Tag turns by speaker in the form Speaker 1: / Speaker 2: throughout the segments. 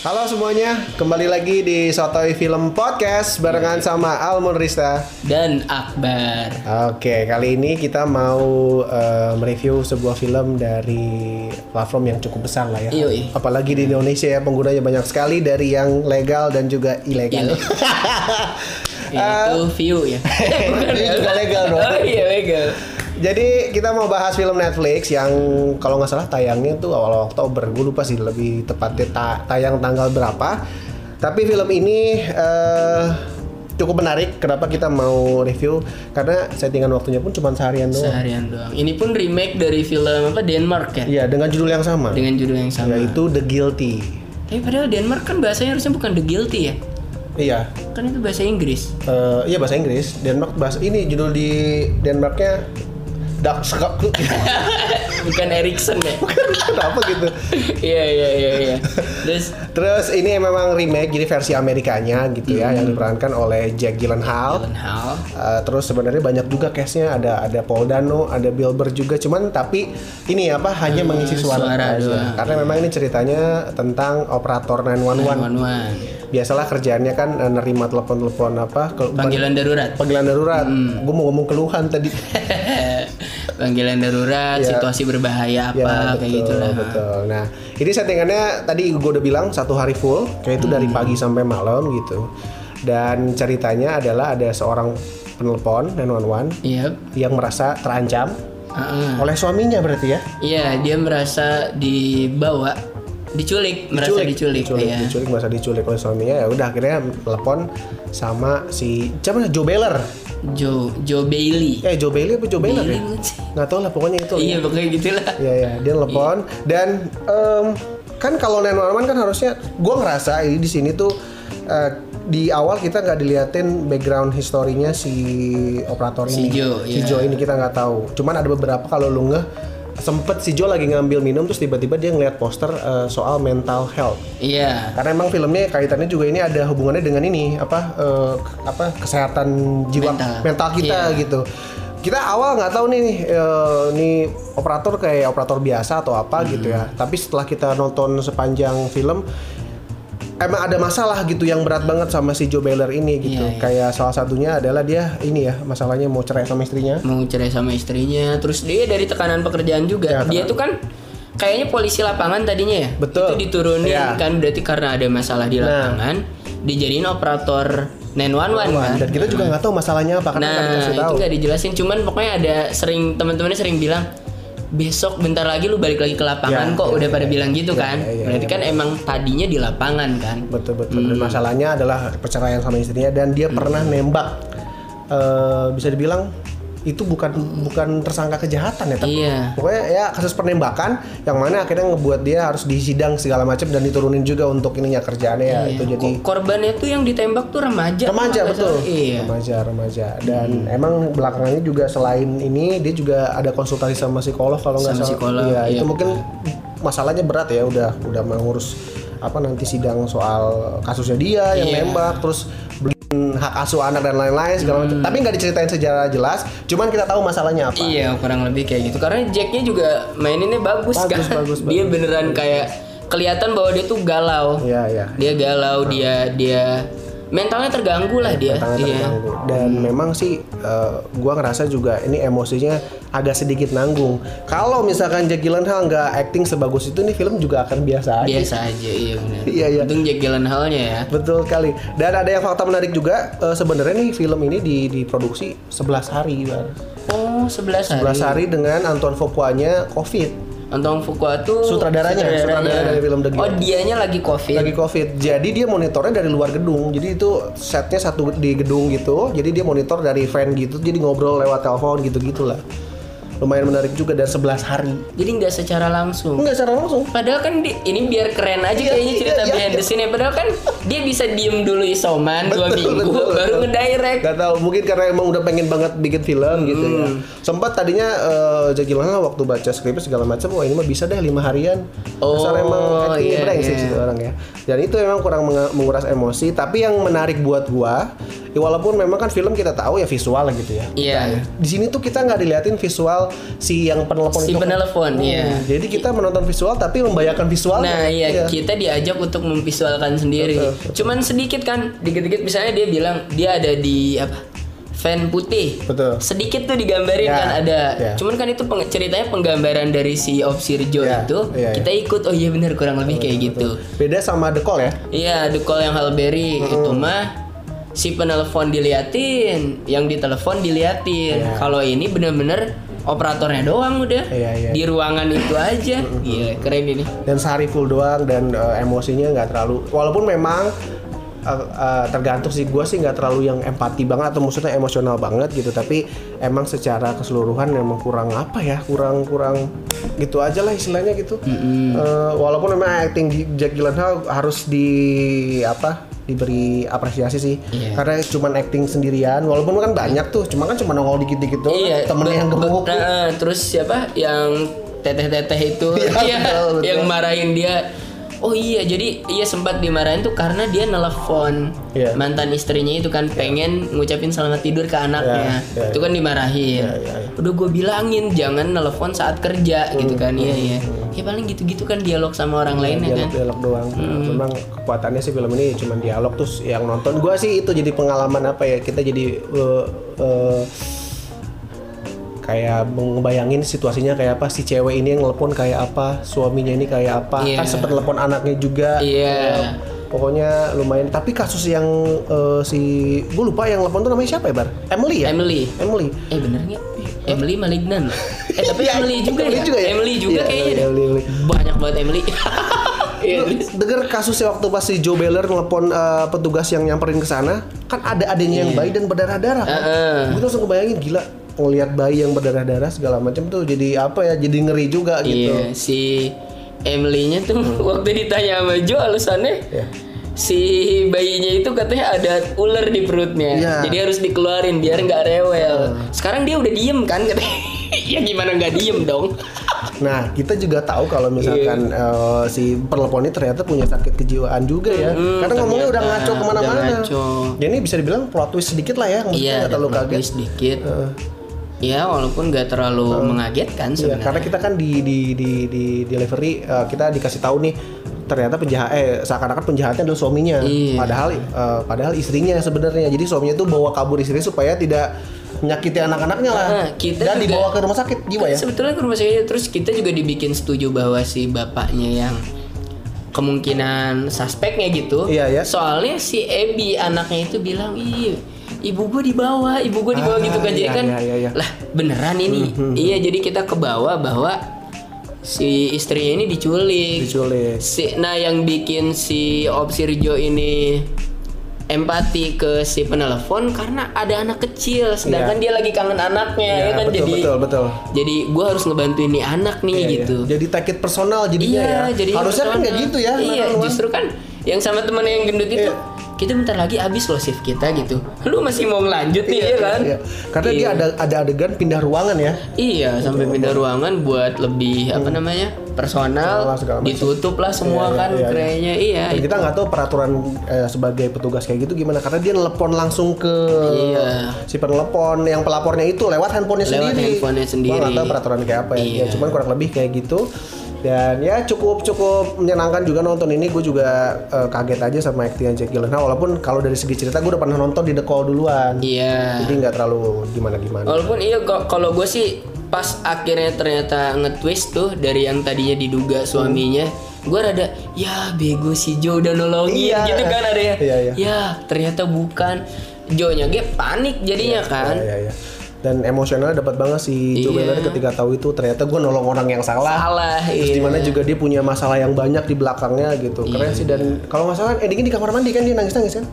Speaker 1: Halo semuanya, kembali lagi di Sotoy Film Podcast barengan sama Almun Rista.
Speaker 2: dan Akbar.
Speaker 1: Oke, kali ini kita mau eh, mereview sebuah film dari platform yang cukup besar lah ya.
Speaker 2: Yoi.
Speaker 1: Apalagi di Indonesia ya penggunanya banyak sekali dari yang legal dan juga ilegal.
Speaker 2: Ilegal. Itu view ya.
Speaker 1: Ini Eh. Iya, juga legal dong.
Speaker 2: Oh iya legal.
Speaker 1: Jadi kita mau bahas film Netflix yang kalau nggak salah tayangnya tuh awal Oktober. Gue lupa sih lebih tepatnya ta- tayang tanggal berapa. Tapi film ini eh, cukup menarik. Kenapa kita mau review? Karena settingan waktunya pun cuma seharian doang.
Speaker 2: Seharian doang. Ini pun remake dari film apa Denmark ya?
Speaker 1: Iya, dengan judul yang sama.
Speaker 2: Dengan judul yang sama.
Speaker 1: Yaitu The Guilty.
Speaker 2: Tapi padahal Denmark kan bahasanya harusnya bukan The Guilty ya.
Speaker 1: Iya.
Speaker 2: Kan itu bahasa Inggris.
Speaker 1: Eh, iya bahasa Inggris. Denmark bahasa ini judul di Denmarknya Dark
Speaker 2: bukan Erikson ya.
Speaker 1: Kenapa gitu?
Speaker 2: Iya iya iya iya. Terus
Speaker 1: Terus ini memang remake jadi versi Amerikanya gitu ya
Speaker 2: Hmm.
Speaker 1: yang diperankan oleh Jack Gyllenhaal.
Speaker 2: Hal.
Speaker 1: Uh, terus sebenarnya banyak juga case-nya ada ada Paul Dano, ada Bill Burr juga cuman tapi ini apa hanya mengisi suara,
Speaker 2: Hmm, suara
Speaker 1: aja.
Speaker 2: doang.
Speaker 1: Karena memang ini ceritanya tentang operator 911.
Speaker 2: One
Speaker 1: Biasalah kerjaannya kan eh, nerima telepon-telepon apa ke-
Speaker 2: Panggilan Hmm. darurat.
Speaker 1: panggilan darurat. Gue mau ngomong keluhan tadi.
Speaker 2: Panggilan darurat,
Speaker 1: Iya.
Speaker 2: situasi berbahaya apa kayak gitulah.
Speaker 1: Ya, Betul. Nah, ini settingannya tadi gue udah bilang satu hari full, kayak itu dari
Speaker 2: Hmm.
Speaker 1: pagi sampai malam gitu. Dan ceritanya adalah ada seorang penelpon 911
Speaker 2: Iya.
Speaker 1: yang merasa terancam
Speaker 2: Heeh.
Speaker 1: oleh suaminya berarti ya.
Speaker 2: Iya, dia merasa dibawa, diculik, merasa diculik,
Speaker 1: diculik,
Speaker 2: ya.
Speaker 1: diculik, merasa diculik oleh suaminya. Ya udah akhirnya telepon sama si siapa Joe Beller.
Speaker 2: Joe Joe Bailey.
Speaker 1: Eh Joe Bailey apa Joe Beller
Speaker 2: Bailey
Speaker 1: ya?
Speaker 2: bukan sih?
Speaker 1: Nggak tahu lah pokoknya itu.
Speaker 2: Iya, pokoknya gitulah.
Speaker 1: Oh, Iya ya, dia telepon dan em, kan kalau 911 kan harusnya gua ngerasa ini di sini tuh eh, di awal kita nggak diliatin background historinya si operator
Speaker 2: Si
Speaker 1: ini.
Speaker 2: Joe,
Speaker 1: si
Speaker 2: iya.
Speaker 1: Joe ini kita nggak tahu. Cuman ada beberapa kalau lu ngeh sempet si Joe lagi ngambil minum terus tiba-tiba dia ngeliat poster eh, soal mental health.
Speaker 2: Iya.
Speaker 1: Karena emang filmnya kaitannya juga ini ada hubungannya dengan ini apa eh, ke- apa kesehatan jiwa mental,
Speaker 2: Mental. Iya.
Speaker 1: kita gitu. Kita awal nggak tahu nih eh, nih operator kayak operator biasa atau apa
Speaker 2: Hmm.
Speaker 1: gitu ya. Tapi setelah kita nonton sepanjang film emang ada masalah gitu yang berat banget sama si Joe Beller ini gitu.
Speaker 2: Iya, iya.
Speaker 1: Kayak salah satunya adalah dia ini ya masalahnya mau cerai sama istrinya.
Speaker 2: Mau cerai sama istrinya, terus dia dari tekanan
Speaker 1: Ya,
Speaker 2: pekerjaan juga.
Speaker 1: karena-
Speaker 2: dia tuh kan kayaknya polisi lapangan tadinya ya.
Speaker 1: Betul.
Speaker 2: Itu diturunin
Speaker 1: Iya.
Speaker 2: kan berarti karena ada masalah di
Speaker 1: Nah.
Speaker 2: lapangan, dijadiin operator 911 kan.
Speaker 1: Dan kita juga nggak tahu masalahnya apa karena nggak
Speaker 2: Nah,
Speaker 1: dikasih
Speaker 2: itu
Speaker 1: tahu.
Speaker 2: nggak dijelasin. Cuman pokoknya ada sering teman-temannya sering bilang besok bentar lagi lu balik lagi ke
Speaker 1: Ya,
Speaker 2: lapangan
Speaker 1: ya,
Speaker 2: kok udah
Speaker 1: ya, ya.
Speaker 2: pada bilang gitu
Speaker 1: Ya,
Speaker 2: kan.
Speaker 1: ya, ya,
Speaker 2: Berarti
Speaker 1: ya.
Speaker 2: kan emang tadinya di lapangan kan.
Speaker 1: betul betul Dan masalahnya adalah perceraian sama istrinya dan
Speaker 2: Hmm.
Speaker 1: dia pernah nembak Eh, bisa dibilang itu bukan bukan tersangka kejahatan ya tapi
Speaker 2: Hmm. Iya.
Speaker 1: pokoknya ya kasus penembakan yang mana akhirnya ngebuat dia harus disidang segala macam dan diturunin juga untuk ininya kerjaannya ya itu
Speaker 2: Iya.
Speaker 1: jadi
Speaker 2: Ko- korbannya tuh yang ditembak tuh Ya, remaja.
Speaker 1: remaja
Speaker 2: Kalau nggak
Speaker 1: betul
Speaker 2: salah. Iya.
Speaker 1: remaja remaja dan emang belakangannya juga selain ini dia juga ada konsultasi sama psikolog kalau nggak
Speaker 2: Sama
Speaker 1: salah
Speaker 2: psikolog,
Speaker 1: Iya,
Speaker 2: iya.
Speaker 1: itu mungkin masalahnya berat ya udah udah mengurus apa nanti sidang soal kasusnya dia yang
Speaker 2: Iya.
Speaker 1: nembak terus beliin hak asuh anak dan lain-lain segala macam tapi nggak diceritain secara jelas cuman kita tahu masalahnya apa
Speaker 2: Hmm. Iya, kurang lebih kayak gitu. Karena Jacknya juga maininnya bagus,
Speaker 1: Bagus,
Speaker 2: kan.
Speaker 1: bagus,
Speaker 2: Dia beneran kayak kelihatan bahwa dia tuh galau.
Speaker 1: Iya, iya.
Speaker 2: Dia galau, dia dia mentalnya terganggu lah dia.
Speaker 1: tangan
Speaker 2: Iya.
Speaker 1: terganggu. dan memang sih eh, gua ngerasa juga ini emosinya agak sedikit nanggung kalau misalkan Jack Gyllenhaal nggak acting sebagus itu nih film juga akan biasa aja
Speaker 2: Biasa aja, iya benar.
Speaker 1: Iya, iya.
Speaker 2: Untung Jack Gyllenhaalnya ya.
Speaker 1: betul kali dan ada yang fakta menarik juga eh, sebenarnya nih film ini di diproduksi 11 hari Bar.
Speaker 2: Oh, 11 hari.
Speaker 1: 11 hari dengan Antoine Fuquanya covid
Speaker 2: Antoine Fuqua tuh
Speaker 1: Sutradaranya, sutradara dari film The Gift.
Speaker 2: Oh, dianya lagi Covid.
Speaker 1: lagi covid jadi dia monitornya dari luar gedung jadi itu setnya satu di gedung gitu jadi dia monitor dari fan gitu jadi ngobrol lewat telepon gitu gitulah lumayan menarik juga dan 11 hari.
Speaker 2: Jadi nggak secara langsung.
Speaker 1: Enggak secara langsung.
Speaker 2: Padahal kan di- ini biar keren aja
Speaker 1: Iya,
Speaker 2: kayaknya
Speaker 1: iya,
Speaker 2: cerita
Speaker 1: iya,
Speaker 2: behind
Speaker 1: iya.
Speaker 2: the scene ya. Padahal kan dia bisa diem dulu isoman dua
Speaker 1: Betul,
Speaker 2: minggu
Speaker 1: betul,
Speaker 2: baru
Speaker 1: betul.
Speaker 2: ngedirect. Hmm.
Speaker 1: Gak tahu mungkin karena emang udah pengen banget bikin film gitu ya. Sempat tadinya eh, Jaki Langga waktu baca skripnya segala macam, wah ini mah bisa deh lima harian.
Speaker 2: Oh,
Speaker 1: Dasar emang actingnya
Speaker 2: iya,
Speaker 1: brengsek
Speaker 2: iya.
Speaker 1: sih orang ya. Dan itu emang kurang menga- menguras emosi. Tapi yang menarik buat gua, ya walaupun memang kan film kita tahu ya visual gitu ya.
Speaker 2: Iya.
Speaker 1: Nah, Di sini tuh kita nggak diliatin visual si yang penelepon
Speaker 2: Si
Speaker 1: itu.
Speaker 2: penelepon, iya.
Speaker 1: Jadi kita menonton visual tapi membayangkan visual.
Speaker 2: Nah iya kita diajak untuk memvisualkan sendiri.
Speaker 1: Betul.
Speaker 2: Cuman sedikit kan, dikit-dikit misalnya dia bilang dia ada di apa? Fan putih.
Speaker 1: Betul.
Speaker 2: Sedikit tuh digambarin
Speaker 1: Ya,
Speaker 2: kan ada.
Speaker 1: ya.
Speaker 2: Cuman kan itu peng- ceritanya penggambaran dari si Opsirjo
Speaker 1: Ya,
Speaker 2: itu.
Speaker 1: iya,
Speaker 2: kita ikut. Oh iya benar kurang lebih kayak gitu.
Speaker 1: Beda sama The Call ya.
Speaker 2: Iya, the call yang
Speaker 1: Hmm.
Speaker 2: Halberry itu mah si penelpon diliatin, yang ditelepon diliatin.
Speaker 1: Iya.
Speaker 2: Kalau ini bener-bener operatornya doang udah
Speaker 1: Iya, iya. Hmm,
Speaker 2: di ruangan itu aja. Iya, keren ini.
Speaker 1: dan sehari full doang dan eh, emosinya nggak terlalu walaupun memang eh, eh, tergantung sih gue sih nggak terlalu yang empati banget atau maksudnya emosional banget gitu tapi emang secara keseluruhan memang kurang apa ya kurang kurang gitu aja lah istilahnya gitu Eh, walaupun memang acting J- Jack Gyllenhaal harus di apa diberi apresiasi sih
Speaker 2: Iya.
Speaker 1: karena cuman acting sendirian walaupun kan banyak tuh cuma kan cuma nongol dikit-dikit doang
Speaker 2: Iya,
Speaker 1: temennya
Speaker 2: be-
Speaker 1: yang
Speaker 2: be-
Speaker 1: gemuk gitu.
Speaker 2: nah, eh, terus siapa yang teteh-teteh itu
Speaker 1: Iya,
Speaker 2: Iya,
Speaker 1: betul, betul.
Speaker 2: yang marahin dia. Oh iya, jadi iya sempat dimarahin tuh karena dia nelpon
Speaker 1: Iya.
Speaker 2: mantan istrinya itu kan pengen ngucapin selamat tidur ke anaknya.
Speaker 1: Iya, iya.
Speaker 2: Itu kan dimarahin.
Speaker 1: Iya, iya, Hmm, iya.
Speaker 2: Udah gue bilangin jangan nelpon saat kerja gitu kan. Iya, iya. Ya paling gitu-gitu kan dialog sama orang lainnya
Speaker 1: hmm. Iya,
Speaker 2: kan.
Speaker 1: dialog dialog doang memang kekuatannya sih film ini cuma dialog terus yang nonton gua sih itu jadi pengalaman apa ya kita jadi uh, uh, kayak membayangin situasinya kayak apa si cewek ini yang nelpon kayak apa suaminya ini kayak apa
Speaker 2: Iya.
Speaker 1: kan sempet nelpon anaknya juga
Speaker 2: Iya.
Speaker 1: Eh, pokoknya lumayan tapi kasus yang eh, si gue lupa yang nelpon tuh namanya siapa ya bar Emily ya
Speaker 2: Emily.
Speaker 1: Emily
Speaker 2: Eh bener nggak? Emily malignan. Eh tapi
Speaker 1: Iya,
Speaker 2: Emily juga
Speaker 1: Emily
Speaker 2: ya.
Speaker 1: juga ya?
Speaker 2: Emily juga
Speaker 1: Iya,
Speaker 2: kayaknya. deh.
Speaker 1: Emily, Emily.
Speaker 2: Banyak banget Emily. Iya.
Speaker 1: Lu
Speaker 2: terus?
Speaker 1: denger kasusnya waktu pas si Joe Beller telepon petugas yang nyamperin ke sana, kan ada adanya yang bayi dan berdarah-darah. Kan?
Speaker 2: Iya. Heeh.
Speaker 1: Gue langsung kebayangin gila ngelihat bayi yang berdarah-darah segala macam tuh jadi apa ya jadi ngeri juga gitu. Hmm.
Speaker 2: Iya, si Emily-nya tuh waktu ditanya sama Jo alasannya
Speaker 1: Iya.
Speaker 2: si bayinya itu katanya ada ular di perutnya.
Speaker 1: Iya. Hmm.
Speaker 2: Jadi harus dikeluarin biar nggak rewel. Sekarang dia udah diem kan katanya. ya gimana nggak diem dong.
Speaker 1: Nah, kita juga tahu kalau misalkan
Speaker 2: Iya.
Speaker 1: eh, si perlepon ini ternyata punya sakit kejiwaan juga ya.
Speaker 2: Mm-mm,
Speaker 1: Karena ngomongnya udah
Speaker 2: ternyata,
Speaker 1: ngaco kemana-mana.
Speaker 2: udah ngaco.
Speaker 1: Ya ini bisa dibilang plot twist sedikit lah ya, nggak
Speaker 2: Iya,
Speaker 1: nggak terlalu
Speaker 2: ada
Speaker 1: kaget.
Speaker 2: plot twist dikit. Iya, walaupun nggak terlalu mengagetkan
Speaker 1: Iya,
Speaker 2: sebenarnya.
Speaker 1: karena kita kan di di di di delivery eh, kita dikasih tahu nih ternyata penjahat eh seakan-akan penjahatnya adalah suaminya.
Speaker 2: Iya.
Speaker 1: Padahal eh, padahal istrinya sebenarnya. Jadi suaminya tuh bawa kabur istrinya supaya tidak menyakiti anak-anaknya lah.
Speaker 2: Nah, kita
Speaker 1: Dan
Speaker 2: juga- Iya,
Speaker 1: dibawa ke rumah sakit jiwa ya.
Speaker 2: Sebetulnya ke rumah sakit terus kita juga dibikin setuju bahwa si bapaknya yang kemungkinan suspeknya gitu.
Speaker 1: Iya, ya.
Speaker 2: Soalnya si Ebi anaknya itu bilang, "Ih, ibu gue dibawa, ibu gue dibawa
Speaker 1: Ah,
Speaker 2: gitu kan." Jadi
Speaker 1: iya,
Speaker 2: kan
Speaker 1: iya, iya, Hmm, iya.
Speaker 2: lah beneran ini. Iya, jadi kita ke bawah bahwa si istrinya ini diculik.
Speaker 1: Diculik.
Speaker 2: Si, nah yang bikin si Opsirjo ini empati ke si penelepon karena ada anak kecil
Speaker 1: Iya.
Speaker 2: sedangkan dia lagi kangen anaknya
Speaker 1: Iya,
Speaker 2: ya kan
Speaker 1: betul,
Speaker 2: jadi
Speaker 1: betul, betul.
Speaker 2: jadi gue harus ngebantuin nih anak nih
Speaker 1: Iya, iya.
Speaker 2: gitu
Speaker 1: Jadi take it personal jadinya
Speaker 2: iya
Speaker 1: ya.
Speaker 2: jadi
Speaker 1: Harusnya kan
Speaker 2: personal.
Speaker 1: nggak gitu ya.
Speaker 2: iya
Speaker 1: Nathan Wan.
Speaker 2: justru kan yang sama temennya yang gendut itu
Speaker 1: Iya.
Speaker 2: kita bentar lagi abis loh shift kita gitu lu masih mau ngelanjut nih
Speaker 1: Iya,
Speaker 2: ya kan
Speaker 1: iya. Karena dia
Speaker 2: Iya.
Speaker 1: ada ada adegan pindah ruangan ya.
Speaker 2: Iya, sampai pindah ruangan buat lebih apa namanya personal,
Speaker 1: Hmm. Personal, segala macam.
Speaker 2: ditutup lah semua
Speaker 1: Iya, iya,
Speaker 2: kan
Speaker 1: iya, iya.
Speaker 2: kayaknya iya.
Speaker 1: Dan kita nggak tahu peraturan eh, sebagai petugas kayak gitu gimana karena dia nelpon langsung ke
Speaker 2: Iya.
Speaker 1: si penelepon yang pelapornya itu lewat handphonenya
Speaker 2: Lewat
Speaker 1: sendiri.
Speaker 2: handphonenya
Speaker 1: Gua
Speaker 2: sendiri.
Speaker 1: nggak tahu peraturan kayak apa ya.
Speaker 2: Iya.
Speaker 1: Ya, cuman kurang lebih kayak gitu. Dan ya cukup cukup menyenangkan juga nonton ini. Gue juga eh, kaget aja sama aktingnya Jack Gyllenhaal. Nah, Walaupun kalau dari segi cerita gue udah pernah nonton di The Call duluan.
Speaker 2: Iya.
Speaker 1: Jadi nggak terlalu gimana gimana.
Speaker 2: Walaupun iya ko- kalau gue sih pas akhirnya ternyata nge-twist tuh dari yang tadinya diduga suaminya, gue rada ya bego si Joe udah nolongin
Speaker 1: Iya.
Speaker 2: gitu kan ada ya.
Speaker 1: Iya, iya.
Speaker 2: Ya ternyata bukan. Joe-nya gue panik jadinya kan.
Speaker 1: Ya, ya, ya. Dan emosionalnya dapat banget si Joe
Speaker 2: Iya.
Speaker 1: Miller ketika tahu itu ternyata gue nolong orang yang salah.
Speaker 2: Salah.
Speaker 1: Terus
Speaker 2: iya.
Speaker 1: dimana juga dia punya masalah yang banyak di belakangnya gitu. Keren sih dan kalau nggak salah endingnya di kamar mandi kan dia nangis nangis kan?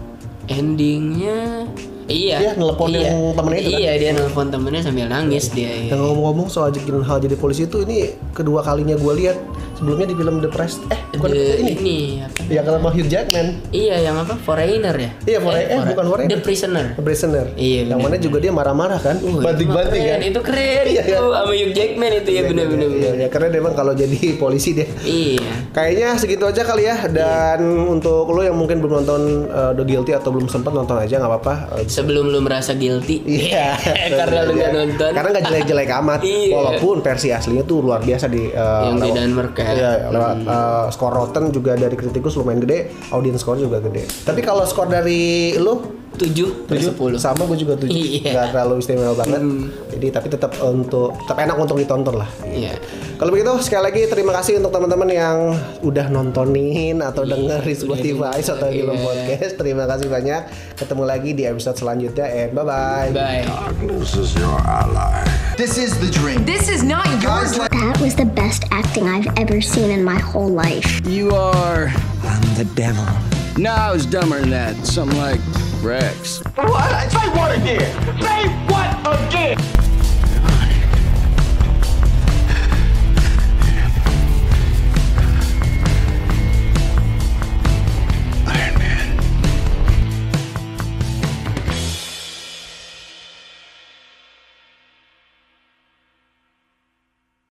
Speaker 2: endingnya Iya.
Speaker 1: Dia nelpon
Speaker 2: iya.
Speaker 1: yang temennya itu kan?
Speaker 2: Iya, dia nelpon temennya sambil nangis dia.
Speaker 1: Yang ngomong-ngomong soal Jake Gyllenhaal jadi polisi itu ini kedua kalinya gue lihat sebelumnya di film The Press eh bukan
Speaker 2: The,
Speaker 1: ini,
Speaker 2: ini apa?
Speaker 1: yang sama Hugh Jackman
Speaker 2: Iya, yang apa? Foreigner ya?
Speaker 1: Iya, Foreigner. Eh,
Speaker 2: Fore-
Speaker 1: bukan Foreigner.
Speaker 2: The Prisoner.
Speaker 1: The Prisoner
Speaker 2: Iya,
Speaker 1: yang
Speaker 2: bener.
Speaker 1: mana juga dia marah-marah kan
Speaker 2: Uh,
Speaker 1: banting-banting kan
Speaker 2: itu keren, Itu keren
Speaker 1: Iya,
Speaker 2: itu
Speaker 1: kan?
Speaker 2: sama Hugh Jackman itu ya benar-benar.
Speaker 1: Iya, iya, karena memang kalau jadi polisi dia
Speaker 2: Iya.
Speaker 1: Kayaknya segitu aja kali ya dan untuk lo yang mungkin belum nonton uh, The Guilty atau belum sempat nonton aja nggak apa-apa. Uh,
Speaker 2: Sebelum lu merasa guilty.
Speaker 1: Iya,
Speaker 2: Karena lu nggak
Speaker 1: Iya.
Speaker 2: nonton.
Speaker 1: Karena nggak jelek-jelek amat.
Speaker 2: Iya.
Speaker 1: Walaupun versi aslinya tuh luar biasa di uh,
Speaker 2: Yang di
Speaker 1: lewat-
Speaker 2: Denmark ya.
Speaker 1: Iya, lewat uh, skor Rotten juga dari kritikus lumayan gede, audience score juga gede. Tapi kalau skor dari lu
Speaker 2: 7 dari 10.
Speaker 1: sama gue juga 7
Speaker 2: Iya. Hmm.
Speaker 1: nggak terlalu istimewa banget jadi tapi tetap untuk tetap enak untuk ditonton lah
Speaker 2: Iya.
Speaker 1: Kalau begitu sekali lagi terima kasih untuk teman-teman yang udah nontonin atau denger di Spotify atau di Film
Speaker 2: Iya.
Speaker 1: Podcast. Terima kasih banyak. Ketemu lagi di episode selanjutnya and bye-bye.
Speaker 2: Bye.
Speaker 3: Darkness is your ally.
Speaker 4: This is the dream.
Speaker 5: This is not your
Speaker 6: That was the best acting I've ever seen in my whole life.
Speaker 7: You are. I'm the devil. No, I was dumber than that. Something like Rex.
Speaker 8: What? Say what again? Say what